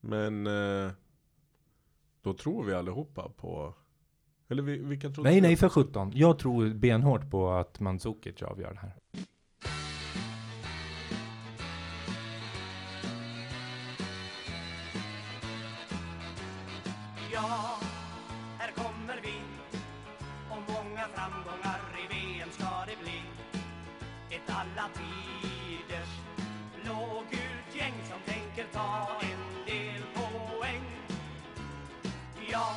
Men eh, då tror vi allihopa på... Eller vi, vilka tror Nej, nej för 17. Jag tror benhårt på att Mandzukic avgör det här. Ja, här kommer vi Och många framgångar i VM ska det bli Ett alla tiders blågult gäng Som tänker ta en del poäng Ja,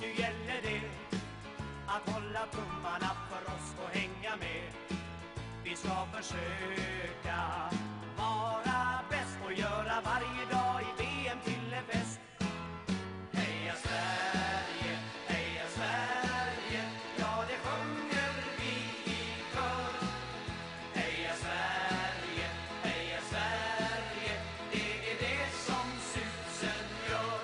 nu gäller det Att hålla tummarna för oss och hänga med Vi ska försöka vara bäst och göra varje dag i VM till en fest Heja Sverige, heja Sverige, ja det sjunger vi i kör. Heja Sverige, heja Sverige, det är det som susen gör.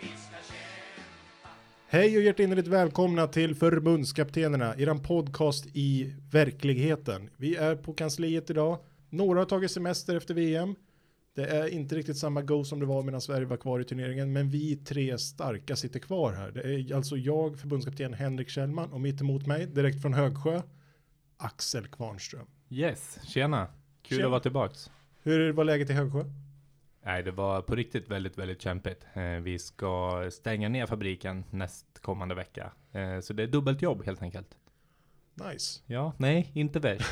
Vi ska kämpa Hej och hjärtinnerligt välkomna till Förbundskaptenerna, eran podcast i verkligheten. Vi är på kansliet idag. Några har tagit semester efter VM. Det är inte riktigt samma go som det var medan Sverige var kvar i turneringen, men vi tre starka sitter kvar här. Det är alltså jag, förbundskapten Henrik Kjellman och mitt emot mig, direkt från Högsjö, Axel Kvarnström. Yes, tjena. Kul Tjena. att vara tillbaks. Hur var läget i Högsjö? Nej, det var på riktigt väldigt, väldigt kämpigt. Eh, Vi ska stänga ner fabriken nästkommande vecka. Eh, Så det är dubbelt jobb helt enkelt. Nice. Ja, nej, inte värst.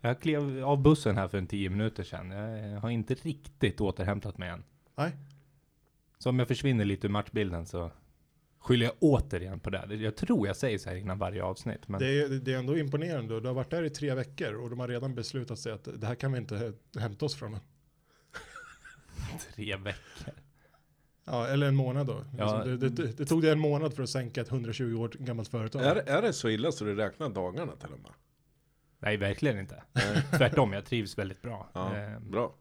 Jag klev av bussen här för en tio minuter sedan. Jag eh, har inte riktigt återhämtat mig än. Nej. Så om jag försvinner lite ur matchbilden så skyller jag återigen på det. Jag tror jag säger så här innan varje avsnitt. Men Det är, det är ändå imponerande. Du har varit där i tre veckor och de har redan beslutat sig att det här kan vi inte hämta oss från. tre veckor. Ja, eller en månad då. Ja. Liksom, Det, det, det tog dig en månad för att sänka ett 120 år gammalt företag. Är, är det så illa så du räknar dagarna till och med? Nej, verkligen inte. Tvärtom, jag trivs väldigt bra. Ja, Eh, bra.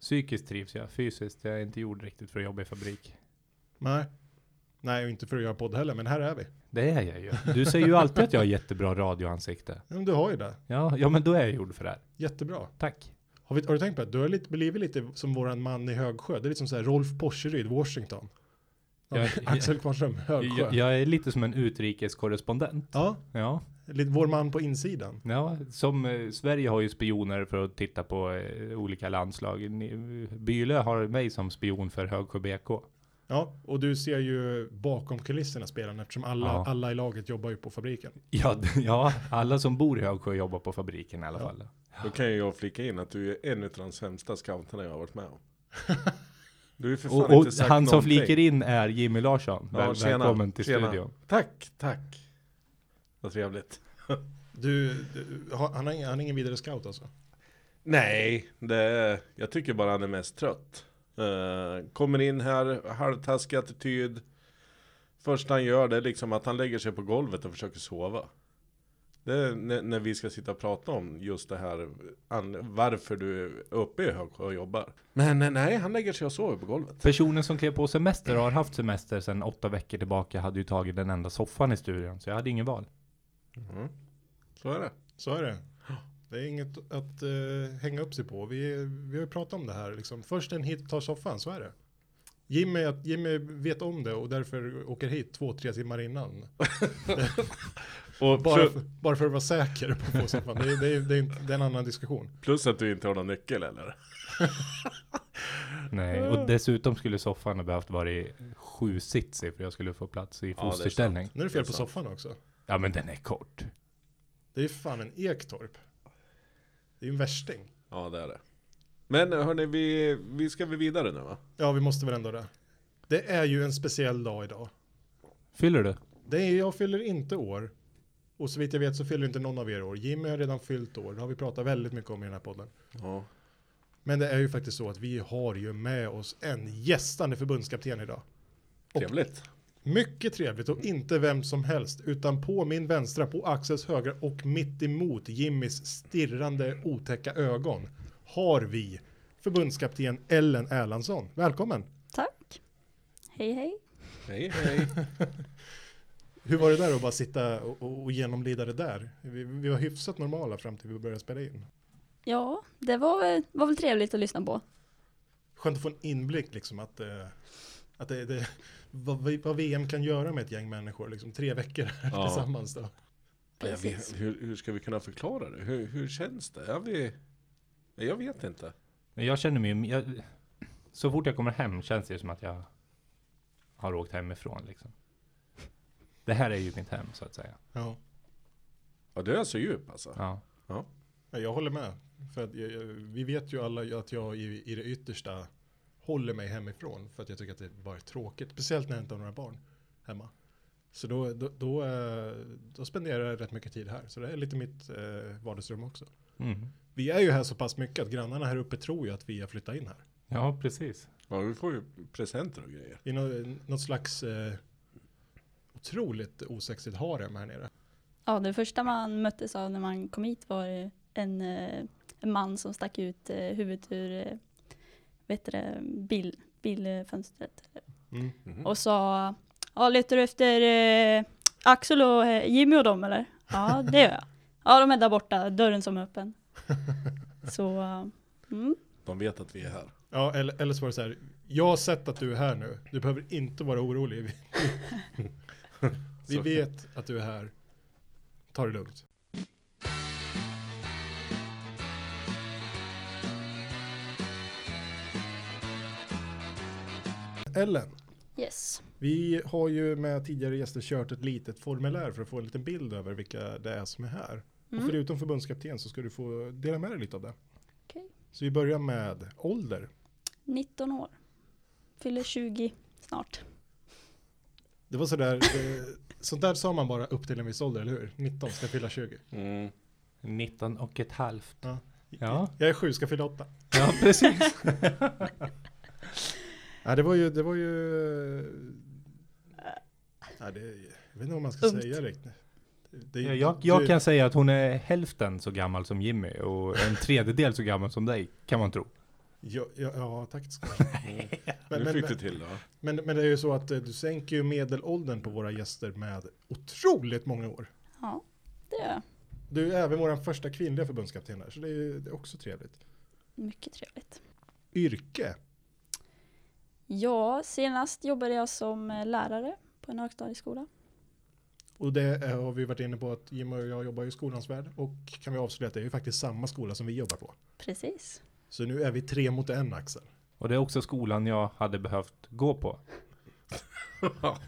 Psykiskt trivs jag, fysiskt. Jag är inte gjord riktigt för att jobba i fabrik. Nej. Nej, och inte för att göra podd heller, men här är vi. Det är jag ju. Du säger ju alltid att jag har jättebra radioansikte. Ja, Men du har ju det. Ja, ja men då är jag gjord för det här. Jättebra. Tack. Har, vi, har du tänkt på det? Du har lite, blivit lite som våran man i Högsjö. Det är lite som så här Rolf Porseryd, Washington. Ja, Jag- Axel Kvarnström, Högsjö. Jag, jag är lite som en utrikeskorrespondent. ja, Ja, lite vår man på insidan. ja som eh, Sverige har ju spioner för att titta på eh, olika landslag. Ni, Byle har mig som spion för Högsjö BK. Ja, och du ser ju bakom kulisserna spelarna eftersom alla, Ja. alla i laget jobbar ju på fabriken. Ja, d- ja, alla som bor i Högsjö jobbar på fabriken i alla fall. Då kan ju jag flika in att du är en av de sämsta scouterna jag har varit med om. Du är ju för fan Och, och inte sagt han som någonting. fliker in är Jimmy Larsson. Väl, tjena, välkommen till tjena. studion. Tack, tack. Vad trevligt. Du, du har- han, har, ingen- han är ingen vidare scout alltså? Nej, det, jag tycker bara han är mest trött. Eh, kommer in här, halvtaskig attityd. Första han gör det är liksom att han lägger sig på golvet och försöker sova. Det är när, när vi ska sitta och prata om just det här, an, varför du är uppe i Högsjö och jobbar. Men eh, nej, han lägger sig och sover på golvet. Personen som klev på semester och har haft semester sedan åtta veckor tillbaka hade ju tagit den enda soffan i studion, så jag hade ingen val. Så är det. Så är det. Det är inget att eh, hänga upp sig på. Vi, vi har ju pratat om det här. Liksom. Först en hit tar soffan, så är det. Jimmy, Jimmy vet om det och därför åker hit två, tre timmar innan. Och Bara, plus, för, bara för att vara säker på att få soffan. Det, är- det, är- det, är inte- det är en annan diskussion. plus att du inte har någon nyckel eller? Nej, Mm. och dessutom skulle soffan ha behövt vara i sju sitsig för jag skulle få plats i det är fosterställning. Nu är det fel på soffan också. Ja, men den är kort. Det är fan en ektorp. Det är en värsting. Ja det är det. Men hörni, vi, vi ska vi vidare nu va? Ja, vi måste väl ändå det. Det är ju en speciell dag idag. Fyller du? Det är, jag fyller inte år. Och så vitt jag vet så fyller inte någon av er år. Jimmy har redan fyllt år. Det har vi pratat väldigt mycket om i den här podden. Ja. Men det är ju faktiskt så att vi har ju med oss en gästande förbundskapten idag. Trevligt. Mycket trevligt och inte vem som helst utan på min vänstra, på Axels högra och mitt emot Jimmys stirrande otäcka ögon har vi förbundskapten Ellen Erlandsson. Välkommen! Tack. Hej hej. Hej hej. Hur var det där att bara sitta och, och, och genomlida det där? Vi, vi var hyfsat normala fram till vi började spela in. Ja, det var väl, var väl trevligt att lyssna på. skönt att få en inblick liksom att, eh, att det, det, vad, vi- vad VM kan göra med ett gäng människor, liksom tre veckor här Ja. tillsammans då. Jag Precis. vet, hur, hur ska vi kunna förklara det? Hur, hur känns det? Är vi... Nej, Jag vet inte. Men Jag känner mig ju- jag, Så fort jag kommer hem känns det ju som att jag har åkt hemifrån liksom. Det här är ju mitt hem så att säga. Ja. Ja, du är så djup alltså. Ja. Ja, Jag håller med. För att jag, jag, vi vet ju alla att jag i, i det yttersta håller mig hemifrån för att jag tycker att det bara är tråkigt. Speciellt när jag inte har några barn hemma. Så då, då, då, eh, då spenderar jag rätt mycket tid här. Så det är lite mitt eh, vardagsrum också. Mm. Vi är ju här så pass mycket att grannarna här uppe tror ju att vi har flyttat in här. Ja, precis. Ja, vi får ju presenter och grejer. I något, något slags eh, otroligt osexigt harem här nere. Ja, det första man möttes av när man kom hit var en, eh, en man som stack ut eh, huvudet ur eh, vad heter det, bil, bilfönstret Mm. Mhm. och sa Ja, letar du efter eh, Axel och eh, Jimmy och dem eller? Ja, det gör jag. Ja, de är där borta, dörren som är öppen. Så, eh, mm, De vet att vi är här. Ja, eller, eller så var det så här. Jag har sett att du är här nu. Du behöver inte vara orolig. Vi, vi Så- vet att du är här. Ta det lugnt. Ellen, yes. vi har ju med tidigare gäster kört ett litet formulär för att få en liten bild över vilka det är som är här. Och Mm. förutom förbundskapten så ska du få dela med dig lite av det. Okej. Så vi börjar med ålder. 19 år. Fyller 20 snart. Det var sådär, det, sånt där sa man bara upp till en viss ålder, eller hur? 19, ska fylla 20. 19 och ett halvt. Ja. Ja, Jag är 7, ska fylla 8. ja precis. Nej, det var ju, det var ju... Nej, det, jag vet inte vad man ska Ungt. säga riktigt. Det, Jag, jag, jag du- kan säga att hon är hälften så gammal som Jimmy och en tredjedel så gammal som dig, kan man tro. Ja, ja, ja tack ska du ha. men, nu men, fick du men, till det va? men, men det är ju så att eh, du sänker ju medelåldern på våra gäster med otroligt många år. Ja, det gör jag. Du är även vår första kvinnliga förbundskapten här, så det är, ju- det är också trevligt. Mycket trevligt. Yrke? Ja, senast jobbade jag som eh, lärare på en högstadieskola. Och det eh, har vi varit inne på att Jim och jag jobbar ju i skolans värld och kan vi avslöja att det är ju faktiskt samma skola som vi jobbar på. Precis. Så nu är vi tre mot en Axel. Och det är också skolan jag hade behövt gå på.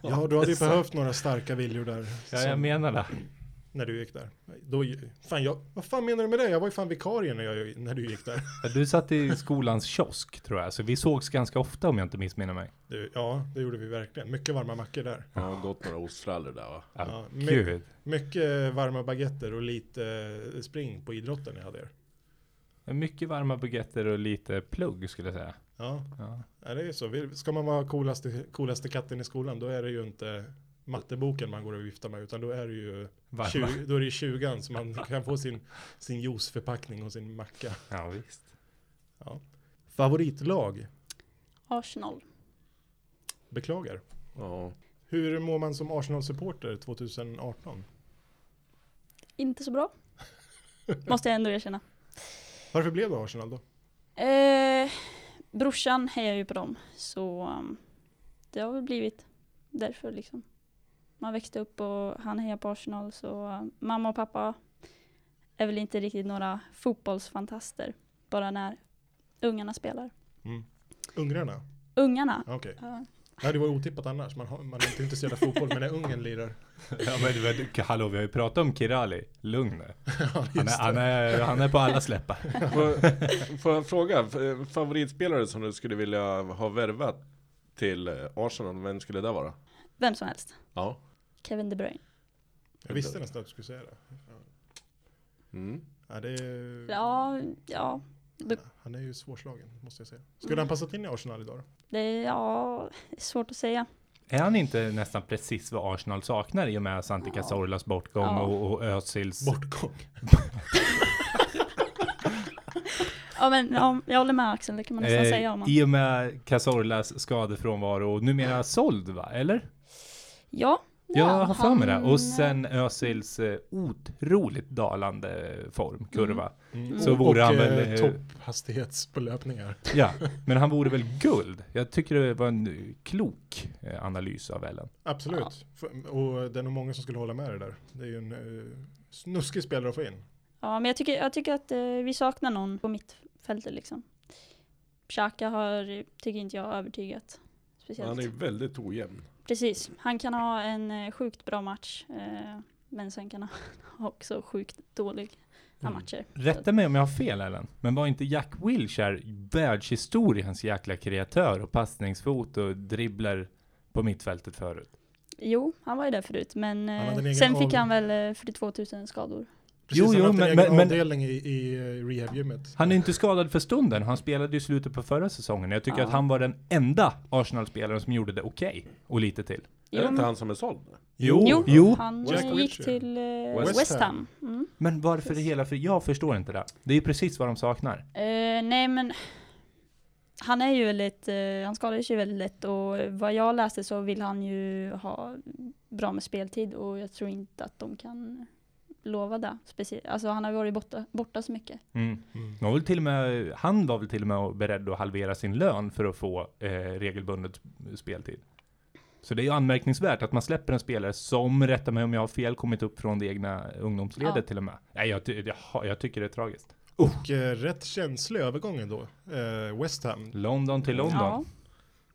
Ja, du hade ju behövt några starka viljor där. Ja, som- jag menar det. När du gick där. Då, ju- fan, jag, vad fan menar du med det? Jag var ju fan vikarie när, jag, när du gick där. Ja, Du satt i skolans kiosk tror jag, så vi sågs ganska ofta om jag inte missminner mig. Du, ja, det gjorde vi verkligen. Mycket varma mackor där. Jag har gått några ostfrallor där va? Ja, Ja, my- Gud. Mycket varma baguetter och lite eh, spring på idrotten ni hade er. Mycket varma baguetter och lite plugg skulle jag säga. Ja, Ja. ja, det är ju så. Vi- Ska man vara coolaste, coolaste katten i skolan, då är det ju inte matteboken man går och viftar med, utan då är det ju Varma. 20, då är det 20 som man kan få sin, sin juiceförpackning och sin macka. Ja, visst. Favoritlag? Arsenal. Beklagar. Ja. Hur mår man som Arsenal-supporter 2018? Inte så bra. Måste jag ändå erkänna. Varför blev det Arsenal då? Eh, brorsan hejar ju på dem, så um, det har väl blivit därför liksom. Man växte upp och han hejar på Arsenal, så um, mamma och pappa är väl inte riktigt några fotbollsfantaster, bara när ungarna spelar. Ungrarna? Ungarna? Ja, Okej. Ja. Nej, det var ju otippat annars. Man, har, man är inte intresserad av fotboll, men när Ungern lirar. Ja, men, du vet, hallå, vi har ju pratat om Kirali. Lugn nu. Ja, Han är, just han, det. är, han är på alla släppar. Får, får jag fråga, f- favoritspelare som du skulle vilja ha värvat till eh, Arsenal, vem skulle det vara? Vem som helst. Ja. Kevin De Bruyne. Jag visste nästan att du skulle säga det. Mm. Ja, det är, Ja, ja, Han är ju svårslagen, måste jag säga. Skulle han passat in i Arsenal idag då? Det är, ja, det är svårt att säga. Är han inte nästan precis vad Arsenal saknar i och med Santi Ja. Cazorlas bortgång Ja. och, och Özils... Bortgång. Ja, men, ja, jag håller med Axel, det kan man nästan säga om eh, honom. I och med Cazorlas skadefrånvaro och numera såld va? Eller? Ja, Jag har för mig det. han- Och sen Özils eh, otroligt dalande Mm. formkurva. Så Mm. Och- vore och, han väl... eh, eh, topphastighetspålöpningar. Ja, men han vore väl guld. Jag tycker det var en eh, klok eh, analys av Ellen. Absolut. F- Och det är nog många som skulle hålla med dig där. Det är ju en eh, snuskig spelare att få in. Ja, men jag tycker, jag tycker att eh, vi saknar någon på mittfältet liksom. Xhaka har, tycker inte jag, övertygat speciellt. Han är väldigt ojämn. Precis, han kan ha en eh, sjukt bra match, eh, men sen kan han också sjukt dåliga Mm. matcher. Rätta mig om jag har fel Ellen, men var inte Jack Wilshere världshistoriens jäkla kreatör och passningsfot och dribbler på mittfältet förut? Jo, han var ju där förut, men Han hade en eh, egen sen fick av- han väl eh, 42 000 skador. Precis, Jo, han jo, har haft en men- egen men- men- avdelning i, i eh, rehabgymmet. Han är inte skadad för stunden, han spelade ju i slutet på förra säsongen. Jag tycker Ja. att han var den enda Arsenal-spelaren som gjorde det okej, och lite till. är det Jo, inte men- han som är såld? Jo, jo, han Jack eh, gick Wilshere. till eh, West Ham. West, Ham. Mm. men varför i hela för Jag förstår inte det. Det är ju precis vad de saknar. Eh, nej, men han är ju väldigt, eh, han skadar sig väldigt lätt och eh, vad jag läste så vill han ju ha bra med speltid och jag tror inte att de kan lova det. Speciellt, alltså han har ju varit borta, borta så mycket. Mm. Mm. De var väl till och med, han var väl till och med beredd att halvera sin lön för att få eh, regelbundet speltid. Så det är ju anmärkningsvärt att man släpper en spelare som, rätta mig om jag har fel, kommit upp från det egna ungdomsledet Ja. till och med. Nej, jag, ty- jag, jag tycker det är tragiskt. Och eh, rätt känslig övergång ändå. Eh, West Ham. London till London. Ja.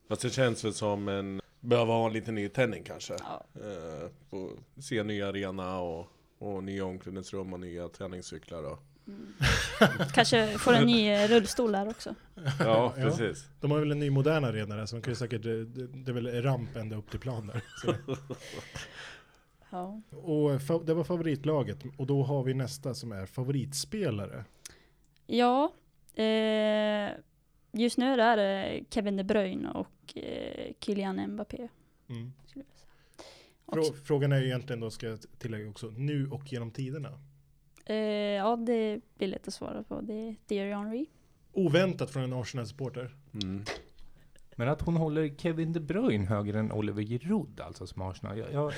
Fast det känns väl som en... Behöver ha lite nytändning kanske. Ja. Eh, få se nya arena och, och nya omklädningsrum och nya träningscyklar. Och. mm. Kanske får en ny eh, rullstol där också. Ja, Ja. precis. De har väl en ny modern arena där, så de kan ju säkert, eh, det, det är väl ramp ända upp till plan där. Så. Ja. Och eh, fa- det var favoritlaget, och då har vi nästa som är favoritspelare. Ja, eh, just nu är det Kevin De Bruyne och eh, Kylian Mbappé. Mm. skulle jag säga. Frå- frågan är ju egentligen då, ska jag tillägga också, nu och genom tiderna. Eh, ja, det blir lätt att svara på. Det är Thierry Henry. Oväntat från en Arsenal-supporter. Mm. Men att hon håller Kevin De Bruyne högre än Oliver Giroud alltså som Arsenal. Jag, jag,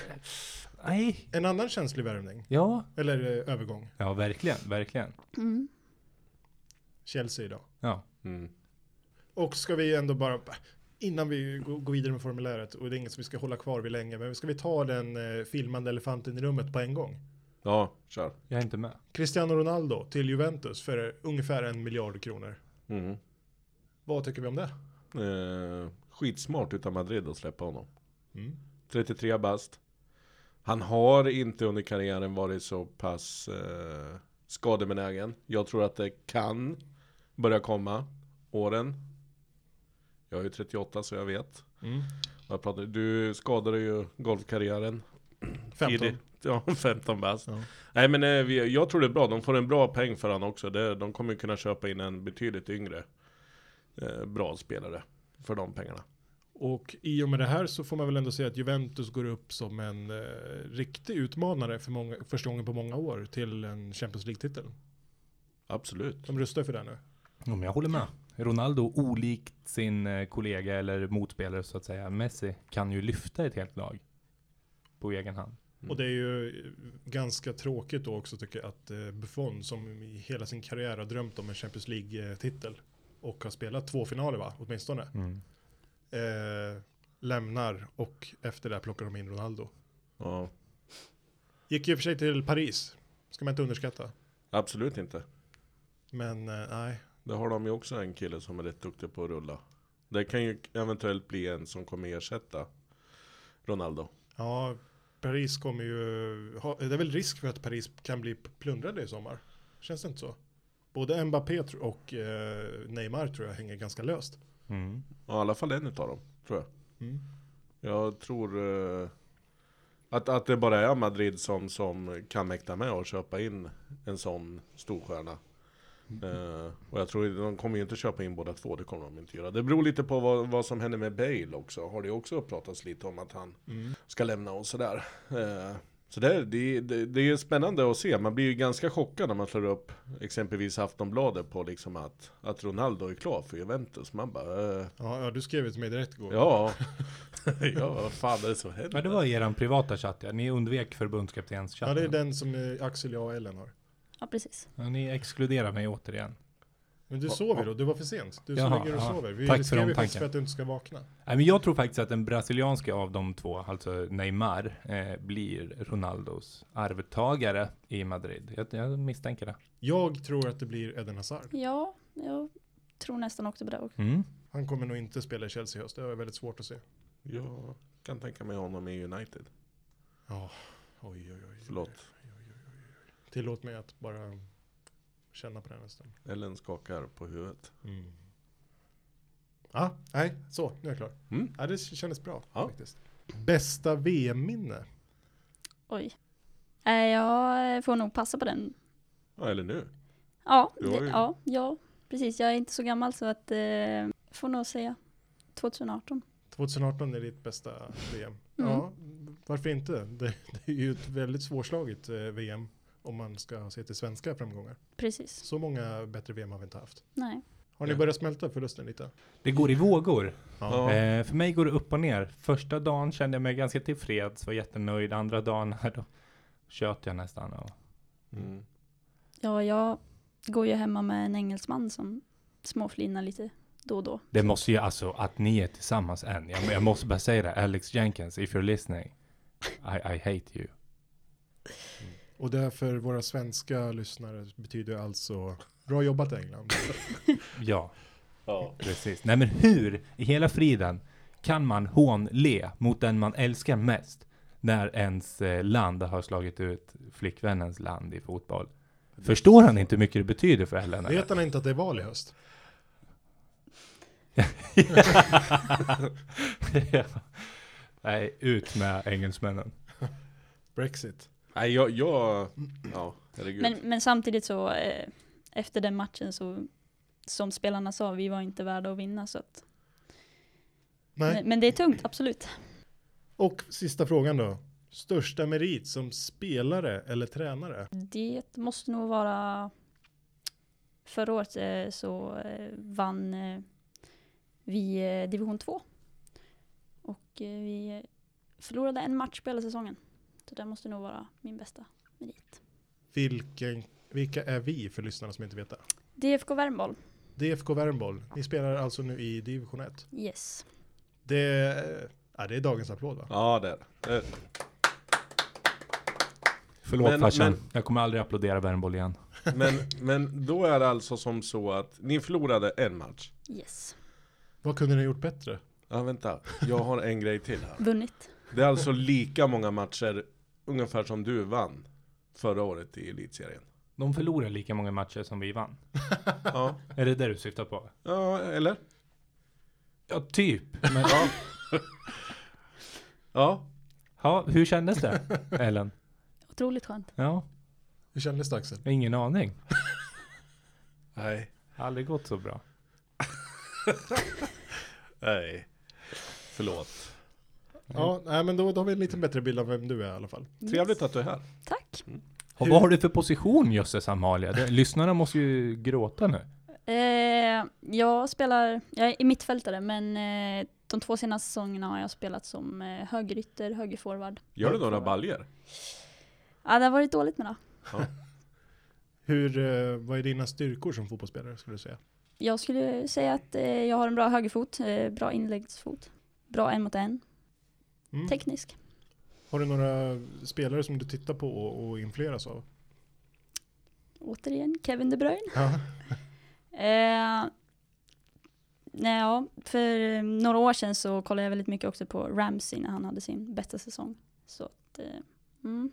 nej, En annan känslig värvning, ja, eller eh, övergång, ja verkligen, verkligen. Mm. Chelsea idag. Ja. Mm. Och ska vi ändå bara, innan vi gå- går vidare med formuläret, och det är inget som vi ska hålla kvar vid länge, men ska vi ta den eh, filmande elefanten i rummet på en gång? Ja, kör. Jag är inte med. Cristiano Ronaldo till Juventus för eh, ungefär en miljard kronor. Mm. Vad tycker vi om det? Eh, skitsmart utav Madrid att släppa honom. Mm. 33 bast. Han har inte under karriären varit så pass eh, skadebenägen. Jag tror att det kan börja komma. Åren. Jag är ju 38 så jag vet. Mm. Jag pratar, du skadade ju golfkarriären. 15. Tidigt. Ja, 15 bast. Ja. Nej men eh, vi, jag tror det är bra. De får en bra peng för han också. Det, de kommer ju kunna köpa in en betydligt yngre eh, bra spelare. För de pengarna. Och i och med det här så får man väl ändå säga att Juventus går upp som en eh, riktig utmanare för många, första gången på många år till en Champions League-titel. Absolut. De rustar för det nu. Ja, men jag håller med. Ronaldo, olikt sin eh, kollega eller motspelare så att säga, Messi, kan ju lyfta ett helt lag på egen hand. Och det är ju eh, ganska tråkigt då också tycker jag att eh, Buffon som i hela sin karriär har drömt om en Champions League-titel och har spelat två finaler va, åtminstone, Mm. eh, lämnar och efter det plockar de in Ronaldo. Ja, Gick ju i och för sig till Paris, ska man inte underskatta. absolut inte. Men eh, nej, Det har de ju också en kille som är rätt duktig på att rulla. Det kan ju eventuellt bli en som kommer ersätta Ronaldo. Ja, Paris kommer ju... Ha, det är väl risk för att Paris kan bli plundrade i sommar? Känns det inte så? Både Mbappé tr- och eh, Neymar tror jag hänger ganska löst. Mm. Ja, I alla fall en utav dem, tror jag. Mm. Jag tror eh, att, att det bara är Madrid som, som kan mäkta med att köpa in en sån storstjärna. Eh, och jag tror ju- de kommer ju inte köpa in båda två, det kommer de inte göra. Det beror lite på vad, vad som händer med Bale också. Har det också pratats lite om att han ska lämna och sådär. Eh, Så det, det, det, det är ju spännande att se. Man blir ju ganska chockad när man slår upp exempelvis Aftonbladet på liksom att, att Ronaldo är klar för Juventus. Man bara, eh, Ja, ja, du skrev ju till mig direkt igår. ja, ja, vad fan är det som Ja, händer? det var eran privata chatt ja. Ni undvek Ja, förbundskaptenschatten. det är den som eh, Axel, jag och Ellen har. Ja, precis. Ja, ni exkluderar mig återigen. Men du sover då, du var för sent. Du Jaha, ligger och ja. sover. Vi Tack för skrev de ju faktiskt tankarna. för att du inte ska vakna. Nej, men jag tror faktiskt att den brasilianska av de två, alltså Neymar, eh, blir Ronaldos arvtagare i Madrid. Jag, jag misstänker det. Jag tror att det blir Eden Hazard. Ja, jag tror nästan också på det också. Mm. Han kommer nog inte spela i Chelsea i höst, det är väldigt svårt att se. Jag kan tänka mig honom i United. Ja, oj, oj, oj. Förlåt, Tillåt mig att bara känna på den en stund. Ellen skakar på huvudet. Mm. Ah, nej, så, nu är jag klar. Mm. Ja, det kändes bra Ja. faktiskt. Bästa VM-minne? Oj. Eh, Jag får nog passa på den. Ja, eller nu. Ja, Du har det, ju- ja, ja, precis. Jag är inte så gammal så att eh, får nog säga 2018. 2018 är ditt bästa VM. Mm. Ja, varför inte? Det, det är ju ett väldigt svårslaget eh, VM om man ska se till svenska framgångar. Precis. Så många bättre VM har vi inte haft. Nej. Har ni Ja. börjat smälta förlusten lite? Det går i vågor. Ja. Eh, för mig går det upp och ner. Första dagen kände jag mig ganska tillfreds, var jättenöjd. Andra dagen här då tjöt jag nästan. Och, Mm. Ja, jag går ju hemma med en engelsman som småflinar lite då och då. det måste ju alltså, att ni är tillsammans än. Jag, jag måste bara säga det, Alex Jenkins, if you're listening, I, I hate you. Och det här för våra svenska lyssnare betyder alltså bra jobbat England. Ja, Ja. precis. Nej men hur i hela friden kan man hånle mot den man älskar mest när ens eh, land har slagit ut flickvännens land i fotboll? Förstår han inte hur mycket det betyder för Helen? eller? Vet han inte att det är val i höst? ja. Nej, ut med engelsmännen. Brexit. Nej, jag, jag, ja, herregud. Men, men samtidigt så eh, efter den matchen så som spelarna sa, vi var inte värda att vinna så att. Nej. Men, men det är tungt, absolut. Och sista frågan då. Största merit som spelare eller tränare? Det måste nog vara förra året eh, så eh, vann eh, vi eh, division 2. Och eh, vi förlorade en match på hela säsongen. Så det måste nog vara min bästa merit. Vilken, vilka är vi för lyssnarna som inte vet det? DFK Värmboll, DFK Värmboll. Ni spelar alltså nu i division 1. yes. Det, ja, det är dagens applåd va? Ja, det är det. Förlåt Men- farsan, men- jag kommer aldrig applådera Värmboll igen. Men, men då är det alltså som så att ni förlorade en match. Yes. Vad kunde ni ha gjort bättre? Ja, vänta. Jag har en grej till här. Vunnit. Det är alltså lika många matcher ungefär som du vann förra året i elitserien. De förlorar lika många matcher som vi vann. Ja, Är det det du syftar på? ja eller? Ja, typ. Men, Ja. ja. ja, hur kändes det, Ellen? Otroligt skönt. Ja, Hur kändes det Axel? jag har ingen aning. Nej. Har Aldrig gått så bra. Nej. Förlåt. Ja, nej, men då, då har vi en lite bättre bild av vem du är i alla fall. Trevligt att du är här. Tack. Och vad har du för position Jösses Amalia? Det, lyssnarna måste ju gråta nu. Eh, jag spelar, jag är mittfältare men eh, de två senaste säsongerna har jag spelat som eh, högerytter, högerforward. Gör du några baljer? Ja, det har varit dåligt med det. Hur, eh, vad är dina styrkor som fotbollsspelare skulle du säga? Jag skulle säga att eh, jag har en bra högerfot, eh, bra inläggsfot, bra en mot en, Mm. teknisk. Har du några spelare som du tittar på och, och influeras av? Återigen Kevin De Bruyne. Ja. Eh, nej, ja, för eh, några år sedan så kollade jag väldigt mycket också på Ramsey när han hade sin bästa säsong. Så att, eh, mm,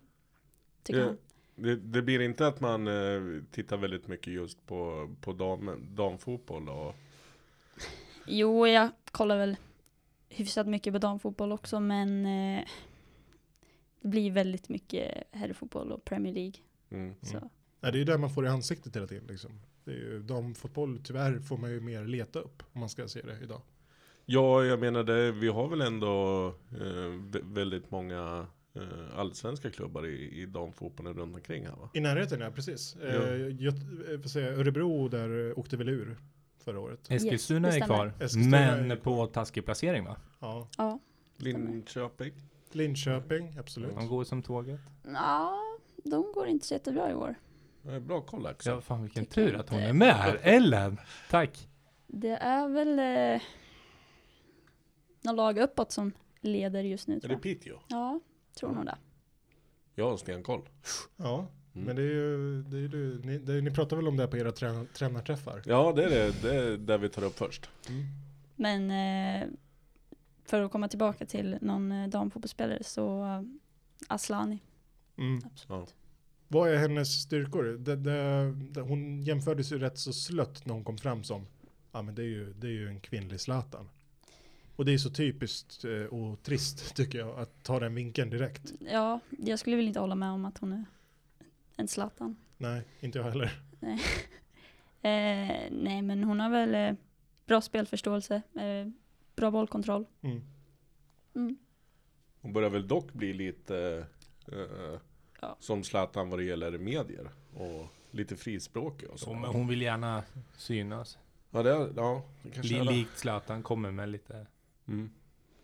tycker Ja. han. Det, det blir inte att man eh, tittar väldigt mycket just på, på dam, damfotboll och... Jo, jag kollar väl hyfsat mycket på damfotboll också, men eh, det blir väldigt mycket herrfotboll och Premier League. Mm. Så. Nej, det är ju där man får i ansiktet hela tiden. Liksom. Det är ju, damfotboll, tyvärr, får man ju mer leta upp om man ska se det idag. Ja, jag menar det, vi har väl ändå eh, vä- väldigt många eh, allsvenska klubbar i, i damfotbollen runt omkring här va? I närheten, ja precis. Ja. Eh, Göt- eh, vad säger jag, Örebro där eh, åkte väl ur förra året. Eskilstuna det är stämmer. kvar, Eskilstuna är men på taskig placering va? Ja. Ja. Linköping. Linköping, absolut. De går som tåget. ja, de går inte så jättebra i år. Eh, Bra koll Axel. Ja, fan vilken Tycker tur att hon inte. är med här. Ellen! Tack! Det är väl eh, några lag uppåt som leder just nu Är tror det jag. Piteå? Ja, tror nog det. Jag har stenkoll. Ja, Mm. men det är ju, det är ju du, ni, det, ni pratar väl om det här på era träna- tränarträffar? Ja det är det, det är där vi tar upp först. Men eh, för att komma tillbaka till någon eh, damfotbollsspelare så eh, Aslani, Mm. absolut. Vad är hennes styrkor? Det, det, det, hon jämfördes ju rätt så slött när hon kom fram som, ja men det är ju, det är ju en kvinnlig Zlatan. Och det är så typiskt eh, och trist tycker jag att ta den vinkeln direkt. Ja, jag skulle väl inte hålla med om att hon är en Zlatan. Nej, inte jag heller. Eh, nej, men hon har väl eh, bra spelförståelse, eh, bra bollkontroll. Mm. Mm. Hon börjar väl dock bli lite eh, Ja. som Zlatan vad det gäller medier. Och lite frispråkig och så. Hon, hon vill gärna synas. Ja det, är- ja, det kanske Li- är det. Likt Zlatan, kommer med lite... Mm.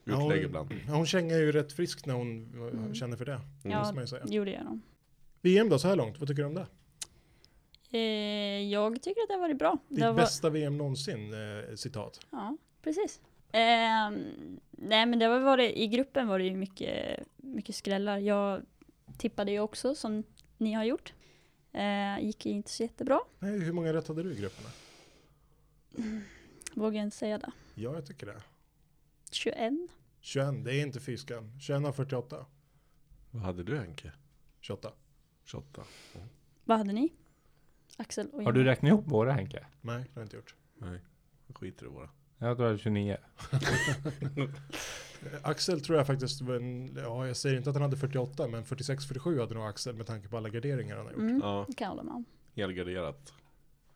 Ja, hon- Utlägg ibland. Ja, hon känner ju rätt frisk när hon eh, Mm. känner för det. Ja, måste man ju säga. jo det gör hon. VM då, så här långt, vad tycker du om det? Eh, jag tycker att det har varit bra. Ditt det har va- bästa VM någonsin, eh, citat. Ja, precis. Ehm, nej, men det var, var det, i gruppen var det ju mycket, mycket skrällar. Jag tippade ju också som ni har gjort. Eh, gick ju inte så jättebra. Nej, hur många rätt hade du i grupperna? Vågar jag inte säga det. Ja, jag tycker det. 21. 21, det är inte fy skam. 21 av 48. Vad hade du Henke? 28. 28? Vad hade ni? Axel och Har Jenny. du räknat ihop våra Henke? Nej, det har jag inte gjort. Nej, jag skiter i våra. Jag tror det är 29. Eh, Axel tror jag faktiskt, var en, ja jag säger inte att han hade 48, men 46-47 hade nog Axel med tanke på alla garderingar han har gjort. Mm, Ja, det kan jag hålla med om. helgarderat.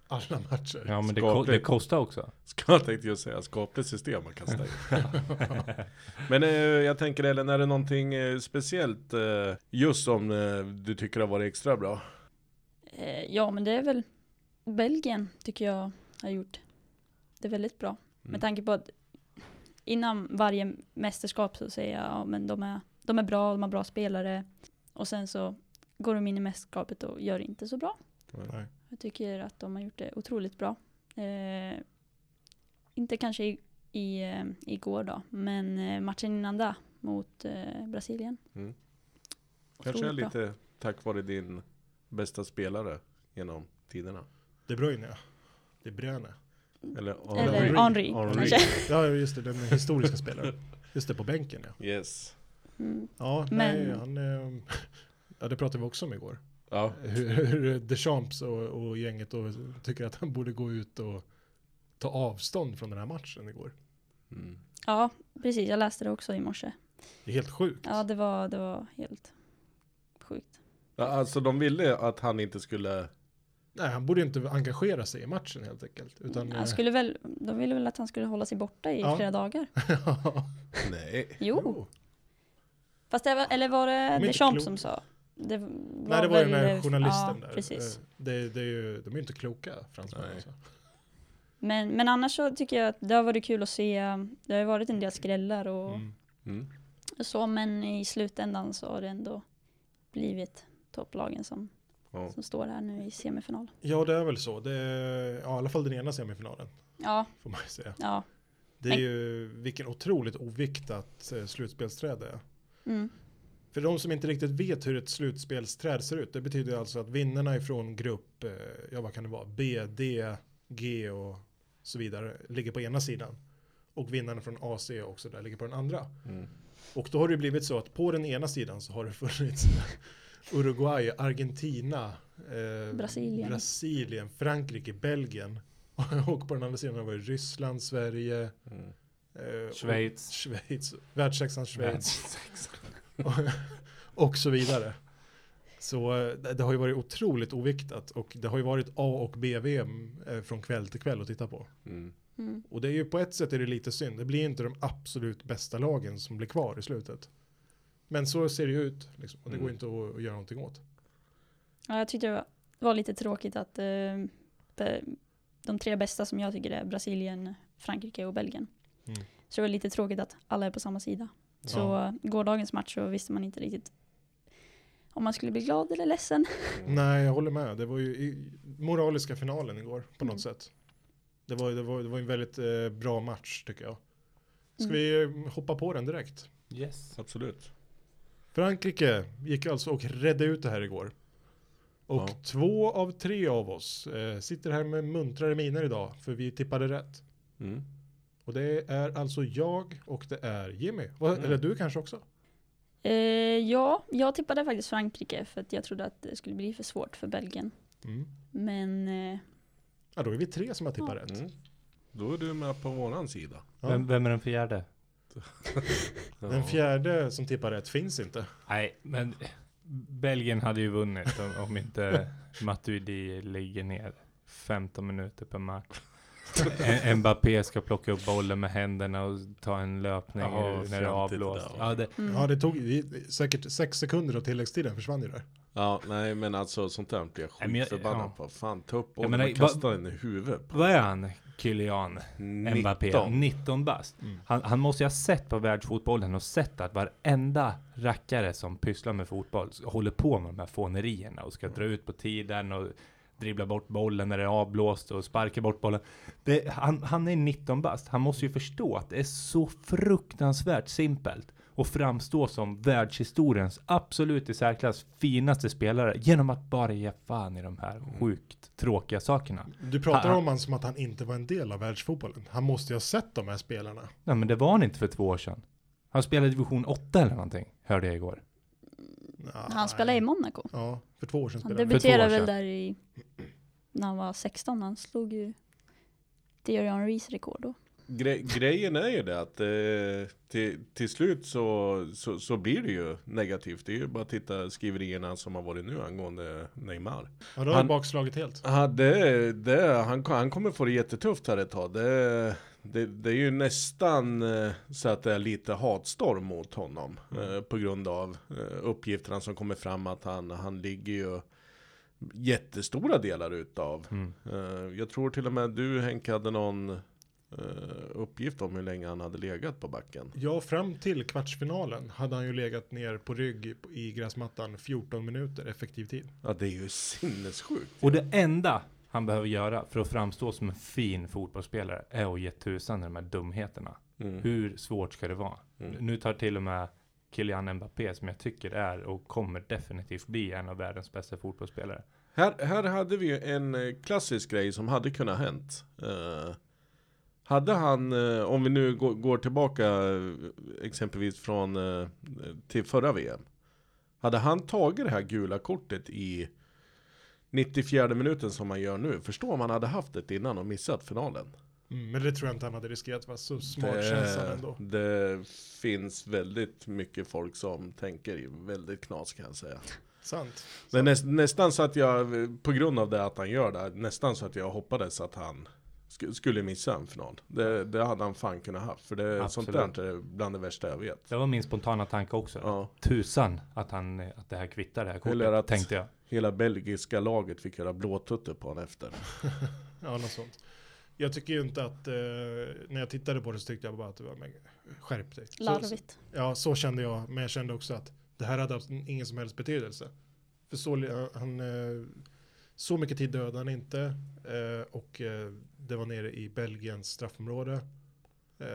Alla matcher. Ja men det, ko- Skapligt. det kostar också. Ska jag tänkte ju säga, skapligt system man kastar in. Men eh, jag tänker Ellen, är det någonting eh, speciellt eh, just som eh, du tycker har varit extra bra? Eh, ja, men det är väl Belgien tycker jag har gjort det väldigt bra. Mm. Med tanke på att innan varje mästerskap så säger jag ja, men de är, de är bra, de har bra spelare. Och sen så går de in i mästerskapet och gör inte så bra. Nej. Jag tycker att de har gjort det otroligt bra. Eh, inte kanske i, i, eh, igår då, men eh, matchen innan det mot eh, Brasilien. Mm. Kanske är Otroligt bra. lite tack vare din bästa spelare genom tiderna. De Bruyne ja. De Bruyne. Eller, Eller Henry. Henri, Henri. kanske. Ja just det, den historiska spelaren. Just det, på bänken ja. Yes. Mm. Ja, nej, Men- han, eh, ja det pratade vi också om igår. Ja, Hur, hur Deschamps och, och gänget och tycker att han borde gå ut och ta avstånd från den här matchen igår. mm. Ja, precis. Jag läste det också i morse. Det är helt sjukt. Ja, det var, det var helt sjukt. Ja, Alltså de ville att han inte skulle, Nej, han borde inte engagera sig i matchen helt enkelt. Utan, eh, Han skulle väl, de ville väl att han skulle hålla sig borta i Ja. flera dagar. eh, nej. Jo, fast det var, eller var det inte Deschamps klok. som sa? Det var Nej, det var ju den väl- där journalisten ja, där. Precis. Eh, Det, det är ju, de är ju inte kloka fransmän. Nej. Alltså. Men, men annars så tycker jag att det har varit kul att se. Det har ju varit en del skrällar och Mm. Mm. så, men i slutändan så har det ändå blivit topplagen som, Ja. som står här nu i semifinal. Ja, det är väl så. Det är, ja, I alla fall den ena semifinalen, Ja, får man ju säga. ja. Det är Men- ju vilken otroligt oviktat eh, slutspelsträde är. Mm. För de som inte riktigt vet hur ett slutspelsträd ser ut, det betyder alltså att vinnarna ifrån grupp, eh, ja vad kan det vara, B, D, G och så vidare, ligger på ena sidan. Och vinnarna från A, C också där ligger på den andra. Mm. Och då har det ju blivit så att på den ena sidan så har det funnits Uruguay, Argentina, eh, Brasilien. Brasilien, Frankrike, Belgien. Och på den andra sidan har det varit Ryssland, Sverige, Mm. eh, och- Schweiz. Schweiz, världsexan Schweiz och, och så vidare. Så eh, det det har ju varit otroligt oviktat och det har ju varit A och B-VM eh, från kväll till kväll att titta på. Mm. Mm. Och det är ju på ett sätt är det lite synd, det blir inte de absolut bästa lagen som blir kvar i slutet. Men så ser det ju ut. Liksom, och det går Mm. inte att, att göra någonting åt. Ja, jag tyckte det var, var lite tråkigt att eh, be, de tre bästa som jag tycker är Brasilien, Frankrike och Belgien. Mm. Så det var lite tråkigt att alla är på samma sida. Så Ja. eh, gårdagens match så visste man inte riktigt om man skulle bli glad eller ledsen. Nej, jag håller med. Det var ju i, moraliska finalen igår på Mm. något sätt. Det var, det, var, det var en väldigt eh, bra match tycker jag. Ska Mm. vi eh, hoppa på den direkt? Yes. Absolut. Frankrike gick alltså och redde ut det här igår. Och Ja. två av tre av oss eh, sitter här med muntrare miner idag för vi tippade rätt. Mm. Och det är alltså jag och det är Jimmy. Va, Mm. Eller du kanske också? Eh, ja, jag tippade faktiskt Frankrike för att jag trodde att det skulle bli för svårt för Belgien. Mm. Men eh, Ja, då är vi tre som har tippat rätt. Mm. Då är du med på våran sida. Ja. Vem, vem är den fjärde? Ja. Den fjärde som tippar rätt finns inte. Nej, men Belgien hade ju vunnit om, om inte Matuidi ligger ner 15 minuter per match. En- Mbappé ska plocka upp bollen med händerna och ta en löpning Jaha, när det fjantigt är det avblåst. där var. Ja, det, mm. Ja, det tog i- säkert sex sekunder och tilläggstiden försvann ju där. Ja, nej men alltså sånt där blir jag Nej, men jag- skitförbannad ja. på. Fan, ta upp Jag bollen menar, och kasta den i huvudet. vad är han? Kylian Mbappé, 19 bast. Mm. Han, han måste ju ha sett på världsfotbollen och sett att varenda rackare som pysslar med fotboll s- håller på med de här fånerierna och ska dra ut på tiden och dribbla bort bollen när det är avblåst och sparka bort bollen. Det, han, han är 19 bast. Han måste ju förstå att det är så fruktansvärt simpelt och framstå som världshistoriens absolut i särklass finaste spelare genom att bara ge fan i de här sjukt tråkiga sakerna. Du pratar Ha- om han som att han inte var en del av världsfotbollen. Han måste ju ha sett de här spelarna. Nej men det var han inte för två år sedan. Han spelade division 8 eller någonting, hörde jag igår. han spelade i Monaco. Ja, Ah, för två år sedan Han spelade han. debuterade För två år väl där i, när han var 16. Han slog ju Thierry Henrys rekord då. Gre grejen är ju det att eh, till, till slut så, så, så blir det ju negativt. Det är ju bara att titta skriverierna som har varit nu angående Neymar. Ja, då har Han- han bakslaget helt. Ja, det, det, han, han kommer få det jättetufft här ett tag. Det, det, det är ju nästan eh, så att det är lite hatstorm mot honom. Eh, på grund av eh, uppgifterna som kommer fram att han, han ligger ju jättestora delar utav. Mm. Eh, jag tror till och med du Henke hade någon eh, uppgift om hur länge han hade legat på backen. Ja, fram till kvartsfinalen hade han ju legat ner på rygg i- i gräsmattan 14 minuter effektiv tid. Ja, det är ju sinnessjukt. Och det enda han behöver göra för att framstå som en fin fotbollsspelare är att ge tusan i de här dumheterna. Mm. Hur svårt ska det vara? Mm. Nu tar till och med Kylian Mbappé, som jag tycker är och kommer definitivt bli en av världens bästa fotbollsspelare. Här, här hade vi ju en eh, klassisk grej som hade kunnat hänt. Eh, hade han, eh, om vi nu går, går tillbaka eh, exempelvis från eh, till förra VM. Hade han tagit det här gula kortet i 94 minuten som man gör nu. Förstår om han hade haft det innan och missat finalen. Mm, men det tror jag inte han hade riskerat. Var så smart känns han Det, ändå. det finns väldigt mycket folk som tänker väldigt knas kan jag säga. Sant. Det är näst, nästan så att jag, på grund av det att han gör det, nästan så att jag hoppades att han sk- skulle missa en final. Det, det hade han fan kunnat haft. För det, sånt Absolut. där är bland det värsta jag vet. Det var min spontana tanke också. Ja, Tusan att, han, att det här kvittar det här kortet, Eller att- tänkte jag. hela belgiska laget fick göra blåtutter på honom efter. Ja, något sånt. Jag tycker ju inte att, eh, när jag tittade på det så tyckte jag bara att det var, men skärp dig. Så- Larvigt. Ja, så kände jag, men jag kände också att det här hade haft ingen som helst betydelse. För så, li- han, eh, så mycket tid dödade han inte eh, och eh, det var nere i Belgiens straffområde. Eh,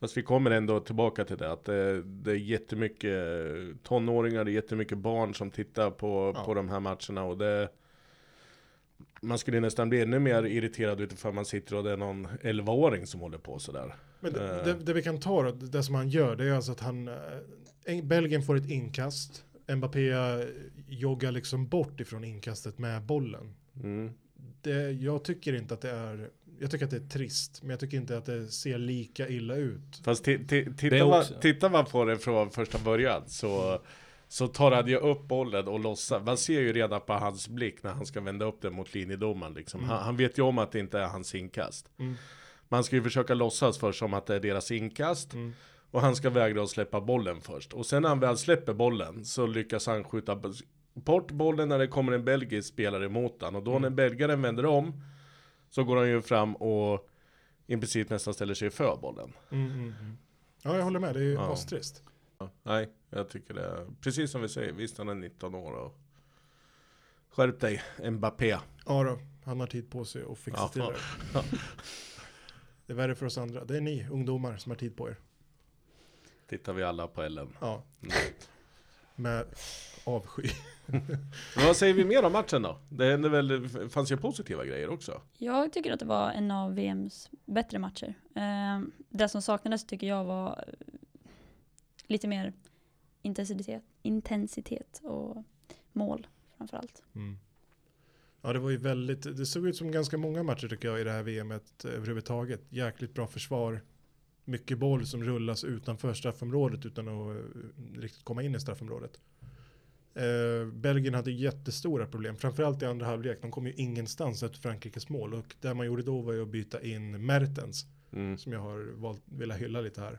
Fast vi kommer ändå tillbaka till det, att det, det är jättemycket tonåringar, det är jättemycket barn som tittar på, Ja. på de här matcherna och det man skulle nästan bli ännu mer irriterad utifrån man sitter och det är någon 11-åring som håller på sådär. Men det, Eh. det, det vi kan ta då, det som han gör, det är alltså att han, eh, Eng- Belgien får ett inkast, Mbappé eh, joggar liksom bort ifrån inkastet med bollen. Mm. Det, jag tycker inte att det är, jag tycker att det är trist, men jag tycker inte att det ser lika illa ut. Fast ti- ti- Det är tittar, man, också- tittar man på det från första början så, så tar han ju upp bollen och låtsas. Man ser ju redan på hans blick när han ska vända upp den mot linjedomaren. Liksom. Mm. Han, han vet ju om att det inte är hans inkast. Mm. Man ska ju försöka låtsas för som att det är deras inkast. Mm. Och han ska vägra att släppa bollen först. Och sen när han väl släpper bollen så lyckas han skjuta b- bort bollen när det kommer en belgisk spelare emot han. Och då när Mm. belgaren vänder om så går han ju fram och implicit nästan ställer sig för bollen. Ja, jag håller med. Det är ju Ja. astrist. Ja, nej, jag tycker det är precis som vi säger. Visst, han är 19 år och skärp dig, Mbappé. Ja då, han har tid på sig att fixa Ja, till fan. det. Det är värre för oss andra. Det är ni ungdomar som har tid på er. Tittar vi alla på Ellen. Ja. Mm. Med avsky. Men vad säger vi mer om matchen då? Det hände väl, fanns ju positiva grejer också. Jag tycker att det var en av VMs bättre matcher. Eh, det som saknades tycker jag var eh, lite mer intensitet, intensitet och mål framförallt. Ja, det var ju väldigt, det såg ut som ganska många matcher tycker jag i det här VMet överhuvudtaget. Jäkligt bra försvar. Mycket boll som rullas utanför straffområdet utan att eh, riktigt komma in i straffområdet. Eh, Belgien hade jättestora problem, framförallt i andra halvlek. De kom ju ingenstans efter Frankrikes mål och det man gjorde då var ju att byta in Mertens Mm. som jag har valt, velat hylla lite här.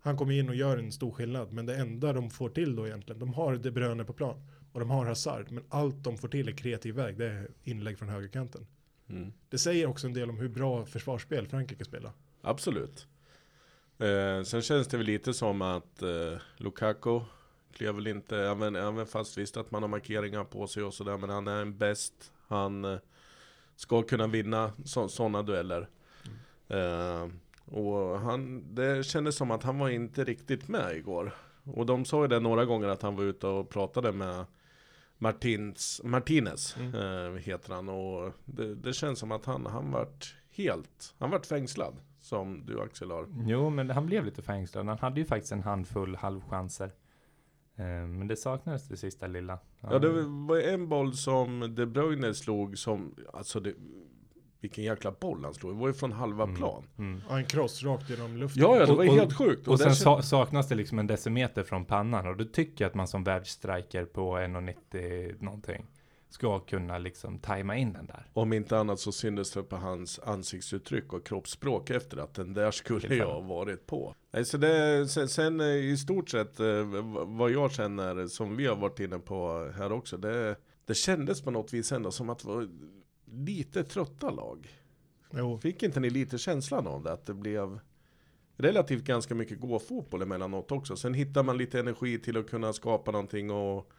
Han kommer in och gör en stor skillnad, men det enda de får till då egentligen, de har De Bruyne på plan och de har Hazard, men allt de får till i kreativ väg, det är inlägg från högerkanten. Mm. Det säger också en del om hur bra försvarsspel Frankrike spelar. Absolut. Eh, sen känns det väl lite som att eh, Lukaku klev väl inte, även, även fast visst att man har markeringar på sig och sådär, men han är en bäst. Han eh, ska kunna vinna sådana dueller. Eh, och han, det kändes som att han var inte riktigt med igår. Och de sa ju det några gånger att han var ute och pratade med Martins, Martinez, eh, heter han. Och det, det känns som att han, han vart helt, han vart fängslad. Som du Axel har. Jo, men han blev lite fängslad. Han hade ju faktiskt en handfull halvchanser. Eh, Men det saknades det sista lilla. Mm. Ja det var en boll som De Bruyne slog som, alltså det, vilken jäkla boll han slog. Det var ju från halva plan. Mm. Ja, en cross rakt genom luften. Ja, ja det Och- var ju och- helt sjukt. Och, där sen kände- sa- saknas det liksom en decimeter från pannan och då tycker jag att man som världsstriker på 1,90 någonting ska kunna liksom tajma in den där. Om inte annat så syndes det på hans ansiktsuttryck och kroppsspråk efter att den där skulle jag ha varit på. Nej, så det, sen, sen eh, i stort sett eh, v- vad jag känner som vi har varit inne på här också. Det, det kändes på något vis ändå som att det var lite trötta lag. Jo, Fick inte ni lite känslan av det? Att det blev relativt ganska mycket gåfotboll emellanåt också. Sen hittar man lite energi till att kunna skapa någonting och,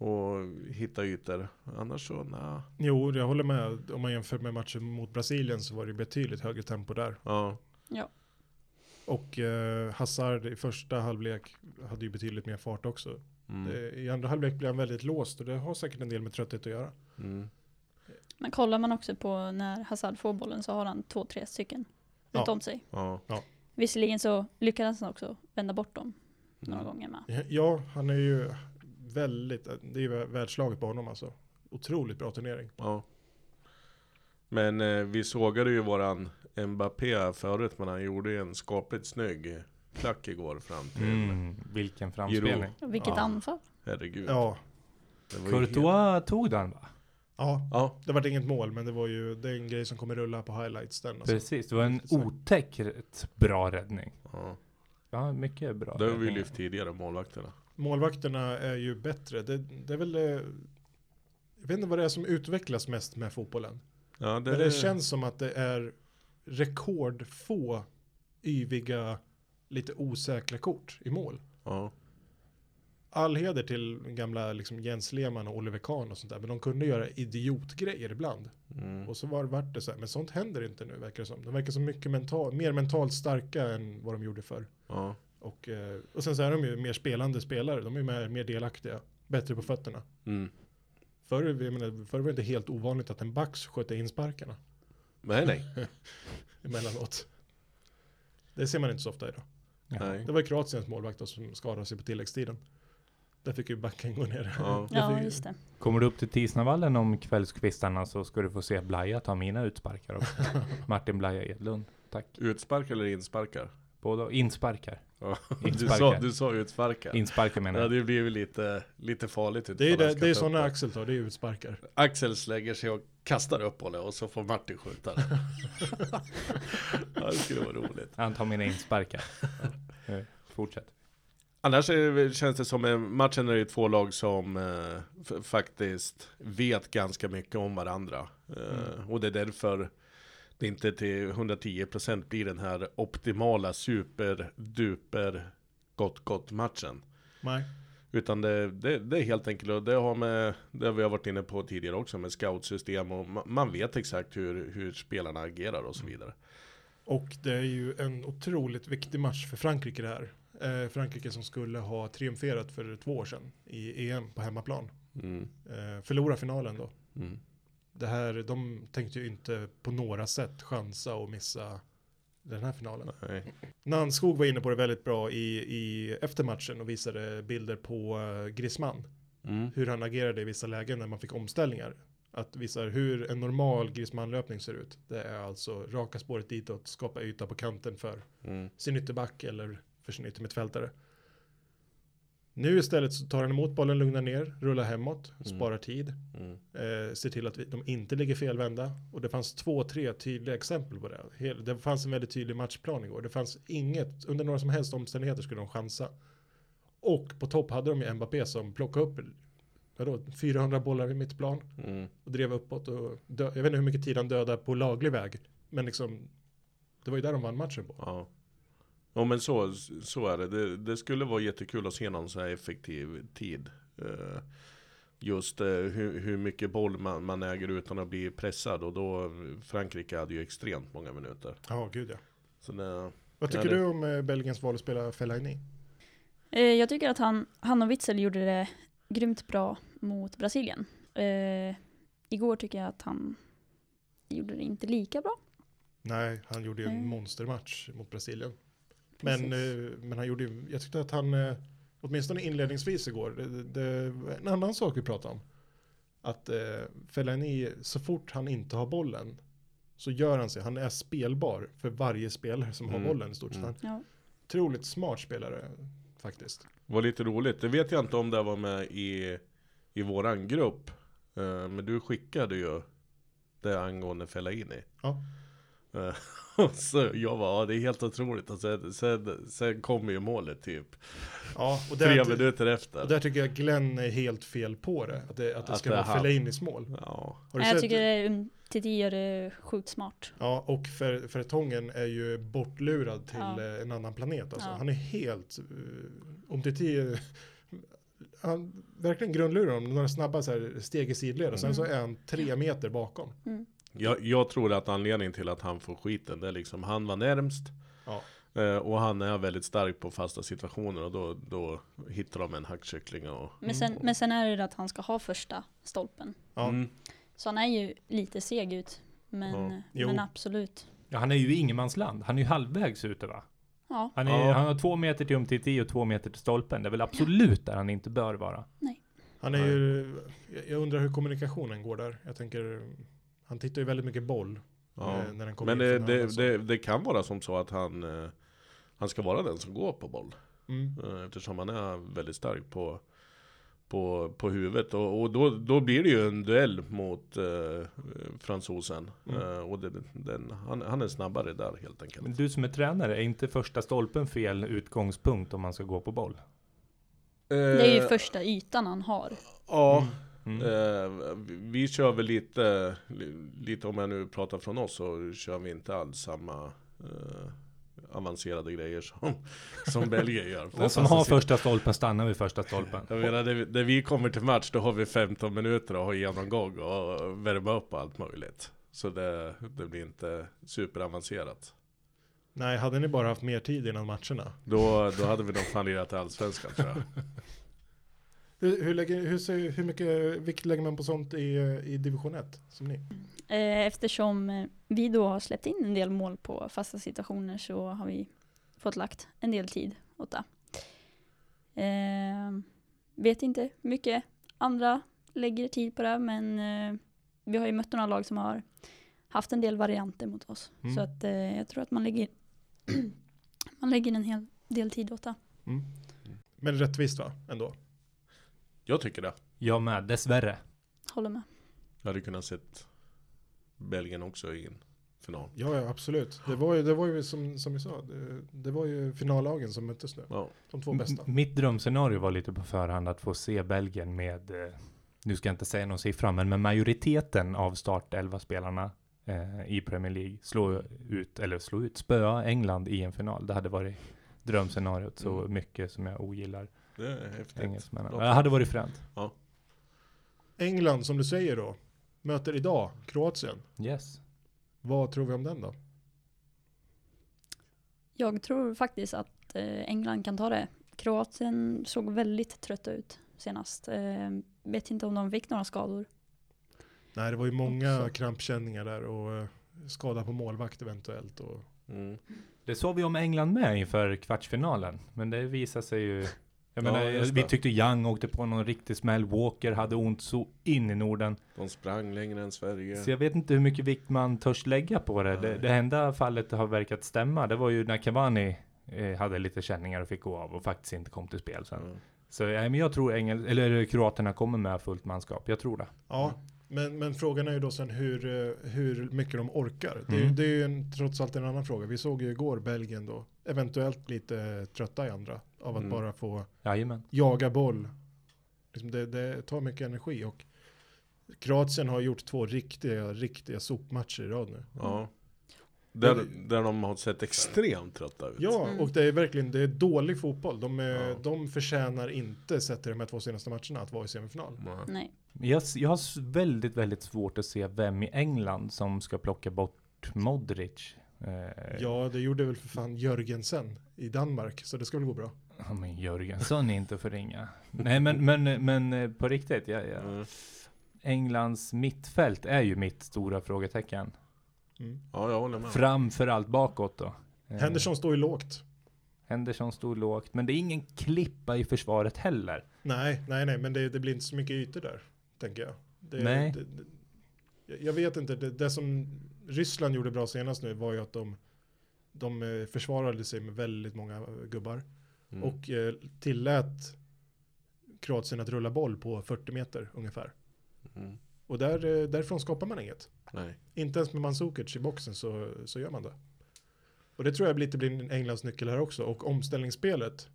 och hitta ytor. Annars så nja. jo, jag håller med. Om man jämför med matchen mot Brasilien så var det betydligt högre tempo där. Ja. Och eh, Hazard i första halvlek hade ju betydligt mer fart också. Mm. Det, I andra halvlek blev han väldigt låst och det har säkert en del med trötthet att göra. Mm. Men kollar man också på när Hazard får bollen så har han två, tre stycken Ja. runt om sig. Ja. Visserligen så lyckades han också vända bort dem några gånger med. Ja, han är ju väldigt, det är ju världslaget på honom alltså. Otroligt bra turnering. ja. Men eh, vi sågade ju våran Mbappé här förut, men han gjorde ju en skapligt snygg klack igår fram till. Mm, vilken framspelning. Vilket Ja. anfall. Herregud. Ja, det var ju helt- Courtois tog den va? ja. Ja, Det vart inget mål, men det var ju det är en grej som kommer rulla på highlights den. Alltså. Precis, det var en otäckt bra räddning. ja. Ja, mycket bra. Det har vi ju räddningar. lyft tidigare, målvakterna. Målvakterna är ju bättre. Det, det är väl, eh, jag vet inte vad det är som utvecklas mest med fotbollen. Ja, det, Men det känns som att det är rekordfå yviga, lite osäkra kort i mål. ja. all heder till gamla liksom, Jens Lehmann och Oliver Kahn och sånt där. Men de kunde göra idiotgrejer ibland. Mm. Och så var vart det så här. Men sånt händer inte nu verkar det som. De verkar så mycket mental, mer mentalt starka än vad de gjorde förr. ja. Och, eh, och sen så är de ju mer spelande spelare. De är mer, mer delaktiga. Bättre på fötterna. Mm. Förr, jag menar, förr var det inte helt ovanligt att en back skötte in sparkarna Nej, nej. emellanåt. Det ser man inte så ofta idag. Ja. nej. Det var ju Kroatiens målvakt då som skadade sig på tilläggstiden. Där fick ju backen gå ner. Ja. Jag Ja, tycker- just det. Kommer du upp till Tisnavallen om kvällskvistarna så ska du få se Blaja ta mina utsparkar också. Martin Blaja Edlund, tack. Utsparkar eller insparkar? Båda insparkar. Ja. Du, Insparkar. sa, du sa utsparkar. Insparkar det menar jag. hade ju blivit lite, lite farligt. Det är, ju utifrån det, jag det är ska ta upp sådana Axel tar, det är ju utsparkar. Axel lägger sig och kastar upp bollen och så får Martin skjuta den. ja, det skulle vara roligt. Han tar mina insparkar. Eh, fortsätt. Annars är det, känns det som en matchen när det är två lag som eh, f- faktiskt vet ganska mycket om varandra. Eh, Och det är därför det inte till 110% blir den här optimala super duper gott gott matchen. Nej. Utan det, det, det är helt enkelt, och det har med, det har vi har varit inne på tidigare också med scoutsystem och ma- man vet exakt hur, hur spelarna agerar och så vidare. Och det är ju en otroligt viktig match för Frankrike det här. Eh, Frankrike som skulle ha triumferat för två år sedan i EM på hemmaplan. Mm. Eh, förlora finalen då. Mm. Det här, de tänkte ju inte på några sätt chansa och missa den här finalen. Nej. Nanskog var inne på det väldigt bra i, i eftermatchen och visade bilder på eh, Griezmann. Mm. Hur han agerade i vissa lägen när man fick omställningar. Att visar hur en normal Griezmann-löpning ser ut. Det är alltså raka spåret ditåt, skapa yta på kanten för Mm. sin ytterback eller för sin yttermittfältare. Nu istället så tar han emot bollen, lugnar ner, rullar hemåt, sparar tid, Mm. eh, ser till att vi, de inte ligger felvända. Och det fanns två, tre tydliga exempel på det. Hel, det fanns en väldigt tydlig matchplan igår. Det fanns inget, under några som helst omständigheter skulle de chansa. Och på topp hade de ju Mbappé som plockade upp vadå, 400 bollar vid mittplan Mm. och drev uppåt. Och dö, jag vet inte hur mycket tid han dödade på laglig väg, men liksom, det var ju där de vann matchen på. Ja. Ja men så, så är det. det. Det skulle vara jättekul att se någon så här effektiv tid. Eh, Just eh, hur, hur mycket boll man, man äger utan att bli pressad. Och då Frankrike hade ju extremt många minuter. Ja, gud ja. Så det, Vad tycker Ja, det- du om eh, Belgiens val att spela Fellaini? Eh, Jag tycker att han, han och Witzel gjorde det grymt bra mot Brasilien. Eh, igår tycker jag att han gjorde det inte lika bra. Nej, han gjorde ju en Mm. monstermatch mot Brasilien. Men, Precis. eh, men han gjorde ju, jag tyckte att han, eh, åtminstone inledningsvis igår, det, det var en annan sak vi pratade om. Att eh, Fellaini, så fort han inte har bollen så gör han sig, han är spelbar för varje spelare som Mm. har bollen i stort sett. Mm. Ja. Otroligt smart spelare faktiskt. var lite roligt. Det vet jag inte om det var med i, i våran grupp. Eh, Men du skickade ju det angående Fellaini. Ja. Eh, och Så jag var ja, det är helt otroligt. Och sen, sen, sen kommer ju målet typ. Ja, och Tre där, minuter efter. och där tycker jag Glenn är helt fel på det. Att det, att det Att ska det är vara han. Fellainis mål. Ja. Har du Jag sett- tycker eh, Titi gör det sjukt smart. Ja, och Fer- Fertongen är ju bortlurad till Ja. eh, en annan planet. Alltså. Ja. Han är helt... eh, om det är han verkligen grundlurar dem. Några snabba så här, steg i sidled. Och sen så är han tre meter bakom. Jag, jag tror att anledningen till att han får skiten, det är liksom han var närmst. Ja. eh, Och han är väldigt stark på fasta situationer och då, då hittar de en hackkyckling och... Men sen, Mm. men sen är det det att han ska ha första stolpen. Ja. Mm. Så han är ju lite seg ut. Men, Jo. men absolut. Ja, han är ju i ingenmansland. Han är ju halvvägs ute va? Ja, Han, är, Ja. han har två meter till umtiti och två meter till stolpen. Det är väl absolut där han inte bör vara. Han är ju... jag- Jag undrar hur kommunikationen går där. Jag tänker... Han tittar ju väldigt mycket boll. Ja. eh, När den kommer Men in det, från hörnan, det, så. det, det kan vara som så att han, eh, han ska vara den som går på boll. Mm. Eh, Eftersom han är väldigt stark på, på, på huvudet. Och, och då, då blir det ju en duell mot eh, fransosen. Mm. Eh, och det, den, han, han är snabbare där helt enkelt. Men du som är tränare, är inte första stolpen fel utgångspunkt om man ska gå på boll? det Eh, är ju första ytan han har. Eh, Ja, Mm. Eh, vi- vi kör väl lite, li- lite om jag nu pratar från oss så kör vi inte alls samma eh, avancerade grejer som, som Belgien gör. Den som har första stolpen stannar vid första stolpen. Jag menar, när vi- när vi kommer till match då har vi 15 minuter att ha genomgång och värma upp och allt möjligt. Så det, det blir inte superavancerat. Nej, hade ni bara haft mer tid innan matcherna? Då, då hade vi nog fan lirat i Allsvenskan tror jag. Hur, hur, lägger, hur, ser- hur mycket vikt lägger man på sånt i, eh, i division 1? Som ni? Eh, Eftersom eh, vi då har släppt in en del mål på fasta situationer så har vi fått lagt en del tid åt det. Eh, vet inte hur mycket andra lägger tid på det men eh, vi har ju mött några lag som har haft en del varianter mot oss. Mm. Så att eh, jag tror att man lägger, man lägger en hel del tid åt det. Men rättvist va? Ändå. Jag tycker det. Jag med, dessvärre. Håller med. Jag hade kunnat sett Belgien också i en final. Ja, ja, absolut. Det var ju, det var ju som, som vi sa, det, det var ju finallagen som möttes nu. Ja. De två bästa. M- Mitt drömscenario var lite på förhand att få se Belgien med, eh, nu ska jag inte säga någon siffra, men med majoriteten av startelva-spelarna eh, i Premier League slå ut, eller slå ut, spöa England i en final. Det hade varit drömscenariot så Mm. mycket som jag ogillar Det är häftigt. engelsmännen. Bra. Det hade varit fränt. England, som du säger då, möter idag Kroatien. Yes. Vad tror vi om den då? Jag tror faktiskt att eh, England kan ta det. Kroatien såg väldigt trötta ut senast. Eh, vet inte om de fick några skador. Nej, det var ju många Också. krampkänningar där och eh, skada på målvakt eventuellt. Och, Mm. Det sa vi om England med inför kvartsfinalen, men det visade sig ju... Jag Ja, menar, just vi det. tyckte Young åkte på någon riktig smäll, Walker hade ont så in i Norden. De sprang längre än Sverige. Så jag vet inte hur mycket vikt man törs lägga på det. Det, Nej. det enda fallet det har verkat stämma, det var ju när Cavani eh, hade lite känningar och fick gå av och faktiskt inte kom till spel sen. Mm. Ja. Så nej, men jag tror Engel, eller kroaterna kommer med fullt manskap, jag tror det. ja, men, men frågan är ju då sen hur, eh, hur mycket de orkar. Det, är- Mm. det är ju en, trots allt en annan fråga. Vi såg ju igår Belgien då, eventuellt lite trötta i andra av att Mm. bara få Jajamän. jaga boll. Liksom det, det tar mycket energi och Kroatien har gjort två riktiga, riktiga sopmatcher i rad nu. Ja. Där, där de har sett extremt trötta ut. Ja, Mm. och det är verkligen det är dålig fotboll. De, är, Ja. de förtjänar inte, sett till de här två senaste matcherna, att vara i semifinal. Mm. Nej. Jag, s- jag har s- väldigt, väldigt svårt att se vem i England som ska plocka bort Modric. Eh, Ja, det gjorde väl för fan Jörgensen i Danmark, så det ska väl gå bra. Ja men Jörgensson är inte för ringa. Nej men, men, men eh, på riktigt, ja, ja. Mm. Englands mittfält är ju mitt stora frågetecken. Mm. Ja, jag håller med. Framför allt bakåt då. Eh, Henderson står ju lågt. Henderson stod lågt, men det är ingen klippa i försvaret heller. Nej, nej, nej, men det, det blir inte så mycket ytor där, tänker jag. Det, Nej. Det, det, jag vet inte, det, det som Ryssland gjorde bra senast nu var ju att de, de eh, försvarade sig med väldigt många eh, gubbar Mm. och eh, tillät Kroatien att rulla boll på 40 meter ungefär. Mm. Och där, eh, därifrån skapar man inget. Nej. Inte ens med Mandzukic i boxen så, så gör man det. Och det tror jag lite blir Englands nyckel här också. Och omställningsspelet.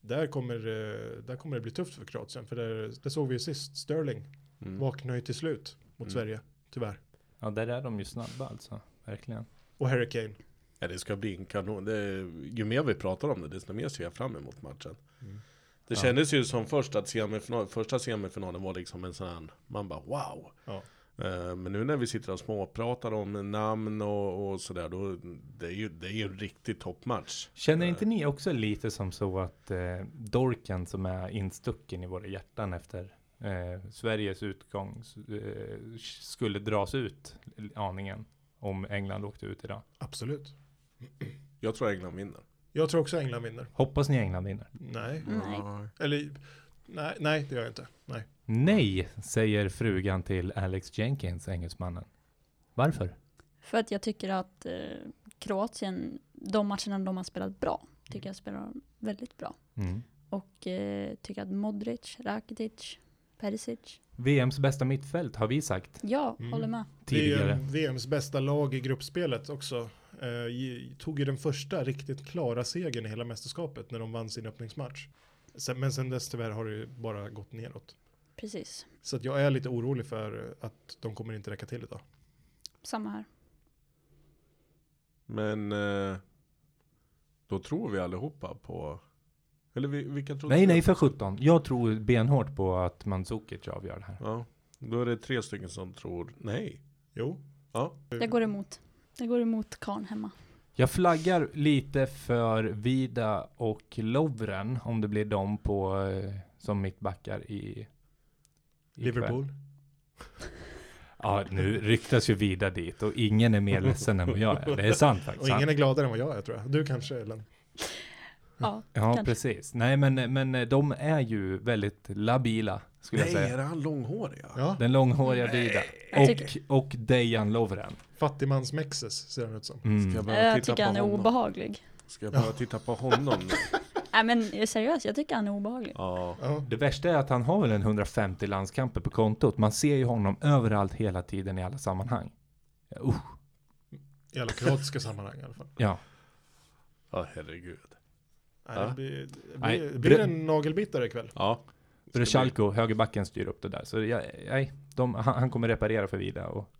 Där kommer, eh, där kommer det bli tufft för Kroatien. För det, det såg vi ju sist. Sterling Mm. vaknade ju till slut mot Mm. Sverige. Tyvärr. Ja, där är de ju snabba alltså. Verkligen. Och Harry Kane. Ja, det ska bli en kanon. Det, ju mer vi pratar om det, desto mer ser jag fram emot matchen. Mm. Det Ja. kändes ju som första, semifinal, första semifinalen var liksom en sån här, man bara wow. Ja. Eh, Men nu när vi sitter och småpratar om namn och, och sådär, då det är ju, det är ju en riktig toppmatch. Känner inte ni också lite som så att eh, Dorken som är instucken i våra hjärtan efter eh, Sveriges utgång s- eh, skulle dras ut aningen om England åkte ut idag? Absolut. Jag tror England vinner. Jag tror också England vinner. Hoppas ni England vinner. Nej. Nej. Eller nej, nej det gör jag inte. Nej. Nej, säger frugan till Alex Jenkins, engelsmannen. Varför? För att jag tycker att eh, Kroatien, de matcherna de har spelat bra, tycker jag spelar väldigt bra. Mm. Och eh, tycker att Modric, Rakitic, Perisic. VMs bästa mittfält har vi sagt Ja, Mm. håller med. Det är ju tidigare. en VMs bästa lag i gruppspelet också. Eh, ge- tog ju den första riktigt klara segern i hela mästerskapet när de vann sin öppningsmatch. Sen, men sen dess tyvärr har det ju bara gått neråt. Precis. Så att jag är lite orolig för eh, att de kommer inte räcka till idag. Samma här. Men eh, då tror vi allihopa på, eller vi, vilka tror Nej, nej, för 17. Jag tror benhårt på att Mandzukic avgör det här. Ja, då är det tre stycken som tror nej. Jo, Ja, Det går emot. Det går emot Karn hemma. Jag flaggar lite för Vida och Lovren, om det blir dem på, eh, som mittbackar i... i kväll. Liverpool. Ja, nu ryktas ju Vida dit och ingen är mer ledsen än vad jag är. Det är sant Och faktiskt. ingen är gladare än vad jag är tror jag. Du kanske Ellen? Ja, Ja, Kanske. precis. Nej, men, men eh, de är ju väldigt labila, skulle nej jag är säga. det han långhåriga? Ja, Den långhåriga Vida. Jag tycker- Och, och Dejan Lovren. fattigmans-Mexes ser han ut som. Mm. Ska jag börja jag titta på tycker han är honom? obehaglig. Ska jag börja titta på honom nu? Nej men seriöst, jag tycker han är obehaglig. Ja. Ja. Det värsta är att han har väl en 150 landskamper på kontot. Man ser ju honom överallt hela tiden i alla sammanhang. Ja, usch. I alla kroatiska sammanhang i alla fall. Ja. Ja, herregud. Nej, Ja. det blir, det Nej, blir, det Bru- blir en nagelbitare ikväll. Ja. Brushalko, högerbacken, styr upp det där. Så jag, nej, de, han, han kommer reparera för Vida och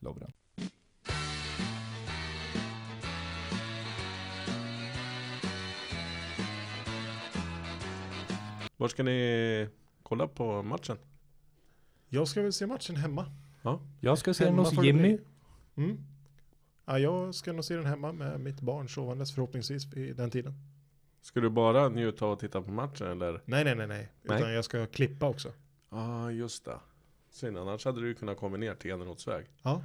Lovren. Var ska ni kolla på matchen? Jag ska väl se matchen hemma. Jag ska se den Hemma hos får det Jimmy. bli. Mm. Ja, jag ska nog se den hemma med mitt barn sovandes förhoppningsvis i den tiden. Ska du bara njuta och titta på matchen eller? Nej, nej, nej, nej. Utan Nej. jag ska klippa också. Ja, ah, just det. Synd, annars hade du ju kunnat komma ner till Enerothsväg. Ja.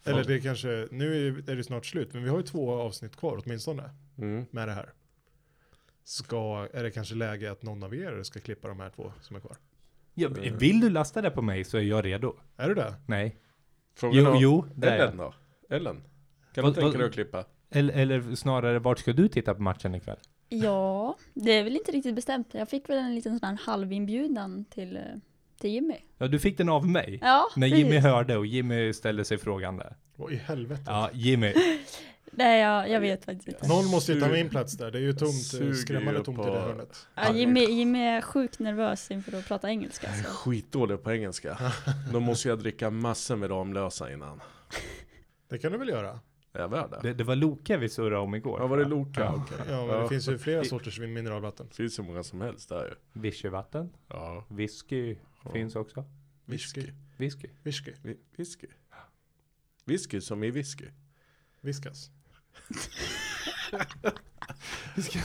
Fan. Eller det är kanske, nu är- är det snart slut, men vi har ju två avsnitt kvar åtminstone Mm. med det här. Ska, är det kanske läge att någon av er ska klippa de här två som är kvar? Ja, vill du lasta det på mig så är jag redo. Är du det? Nej. Frågan Jo, om jo, det är Ellen jag. då? Ellen? Kan Vad- du tänka vad- dig att klippa? eller, eller snarare, vart ska du titta på matchen ikväll? Ja, det är väl inte riktigt bestämt. Jag fick väl en liten sån här halvinbjudan till, eh, till Jimmy. Ja, du fick den av mig. Ja, När precis. Jimmy hörde och Jimmy ställde sig frågan där. Vad i helvete? Ja, Jimmy. Nej, jag, jag vet faktiskt inte. Någon måste ju ta Suger- min plats där, det är ju tomt, suger eh, skrämmande ju tomt i på- det hörnet. Ja, Jimmy, Jimmy är sjukt nervös inför att prata engelska. Jag är Så. skitdålig på engelska. Då måste jag dricka massor med Ramlösa innan. Det kan du väl göra? Är jag värd det? Det, det var Loke vi surrade om igår. Ja, var det Loka? Ja. Okej. Ja, men det finns ju flera sorters mineralvatten. Det finns ju många som helst där ju. Vichyvatten. Ja. Whisky finns också. Whisky. Whisky. Whisky. Vi- Whisky. Whisky som i whisky. Viskas. Vi ska,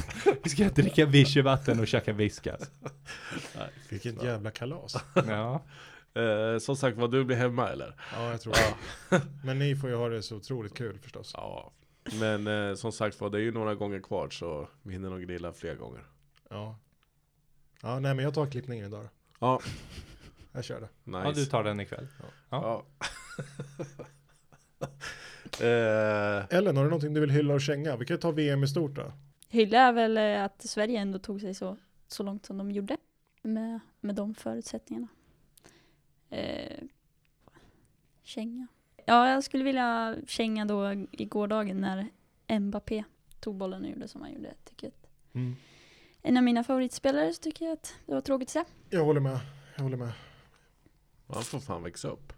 vi ska dricka Vichyvatten och käka alltså. Whiskas. Vilket jävla kalas. Ja. Eh, som sagt var, du blir hemma eller? Ja, jag tror det. Men ni får ju ha det så otroligt kul förstås. Ja. Men eh, som sagt var, det är ju några gånger kvar så vi hinner nog grilla fler gånger. Ja. Ja, nej men jag tar klippningen idag då. Ja, Jag kör det. nice. ja, du tar den ikväll. Ja. eh, Ellen, har du någonting du vill hylla och känga? Vi kan ju ta VM i stort då. Hylla är väl eh, att Sverige ändå tog sig så, så långt som de gjorde med, med de förutsättningarna. Eh, känga. Ja, jag skulle vilja känga då i gårdagen när Mbappé tog bollen och gjorde som han gjorde. Tycker jag. att- Mm. En av mina favoritspelare så tycker jag att det var tråkigt att se. Jag håller med. Jag håller med. man får fan växa upp.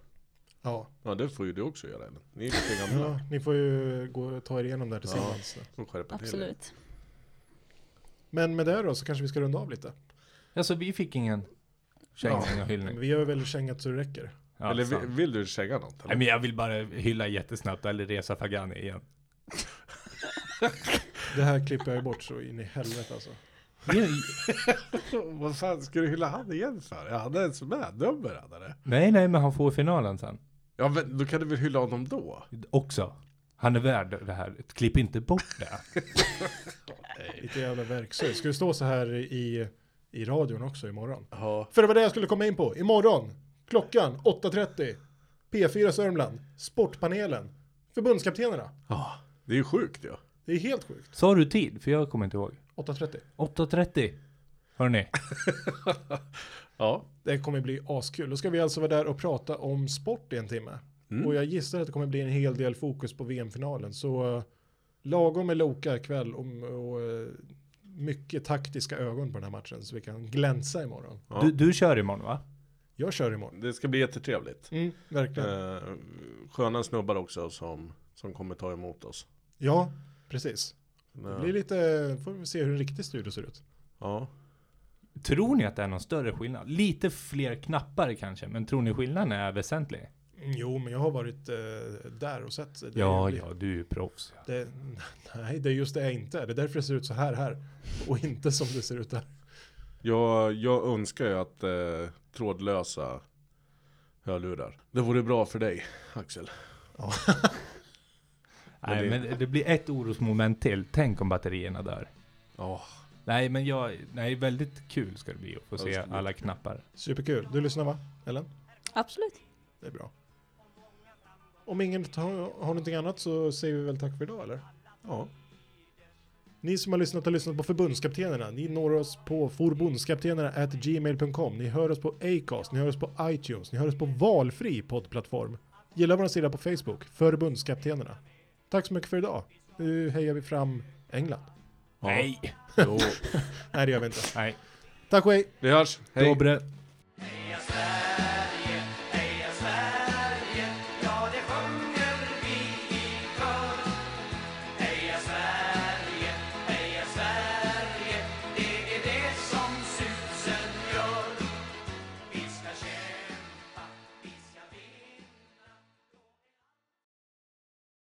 Ja, Ja, det får ju du också göra Ellen. Ni är lite gamla. ja ni får ju gå och ta er igenom det här tillsammans. Får skärpa till er. Absolut. Men med det då så kanske vi ska runda av lite. Alltså vi fick ingen känga Ja. och hyllning. Vi har väl kängat så det räcker. Ja, eller sant. vill, vill du känga något? Nej Eller? men jag vill bara hylla jättesnabbt eller resa Fagani igen. Det här klipper jag ju bort så in i helvete alltså. Vad fan ska du hylla han igen för? Ja, han är ens med. Nummer hade det. nej nej men han får finalen sen. Ja, men då kan du väl hylla honom då? Också. Han är värd det här. Klipp inte bort det. Lite jävla verktyg. Ska det stå så här i, i radion också imorgon? Ja. För det var det jag skulle komma in på. Imorgon, klockan 8.30, P4 Sörmland, Sportpanelen, förbundskaptenerna. ja. Det är ju sjukt ju. Ja. Det är helt sjukt. Sa du tid? För jag kommer inte ihåg. 8.30. 8.30. Hörrni. ja. Det kommer bli askul. Då ska vi alltså vara där och prata om sport i en timme. Och jag gissar att det kommer bli en hel del fokus på VM-finalen. Så eh, lagom med Loka ikväll och, och eh, mycket taktiska ögon på den här matchen så vi kan glänsa imorgon. Ja. Du, du kör imorgon va? Jag kör imorgon. Det ska bli jättetrevligt. Mm, verkligen. Eh, sköna snubbar också som, som kommer ta emot oss. Ja, precis. Det Ja. blir lite, får vi se hur en riktig studio ser ut. Ja. Tror ni att det är någon större skillnad? Lite fler knappar kanske. Men tror ni skillnaden är väsentlig? Mm, Jo, men jag har varit eh, där och sett. Det är Ja ju- ja du är ju proffs. Det, nej, det är just det jag inte är. Det är därför det ser ut så här här. Och inte som det ser ut där. Jag, jag önskar ju att eh, trådlösa hörlurar. Det vore bra för dig, Axel. Nej det- men det blir ett orosmoment till. Tänk om batterierna dör. Ja. Nej men jag, nej väldigt kul ska det bli att få se Absolut. alla knappar. Superkul. Du lyssnar va, Ellen? Absolut. Det är bra. Om ingen har, har någonting annat så säger vi väl tack för idag eller? Ja. Ni som har lyssnat har lyssnat på förbundskaptenerna. Ni når oss på forbundskaptenerna@gmail.com. Ni hör oss på Acast, ni hör oss på iTunes, ni hör oss på valfri poddplattform. Gilla vår sida på Facebook, förbundskaptenerna. Tack så mycket för idag. Nu hejar vi fram England. Nej! Nej, det gör vi inte. Nej. Tack och hej! Vi hörs, hej! Dobre.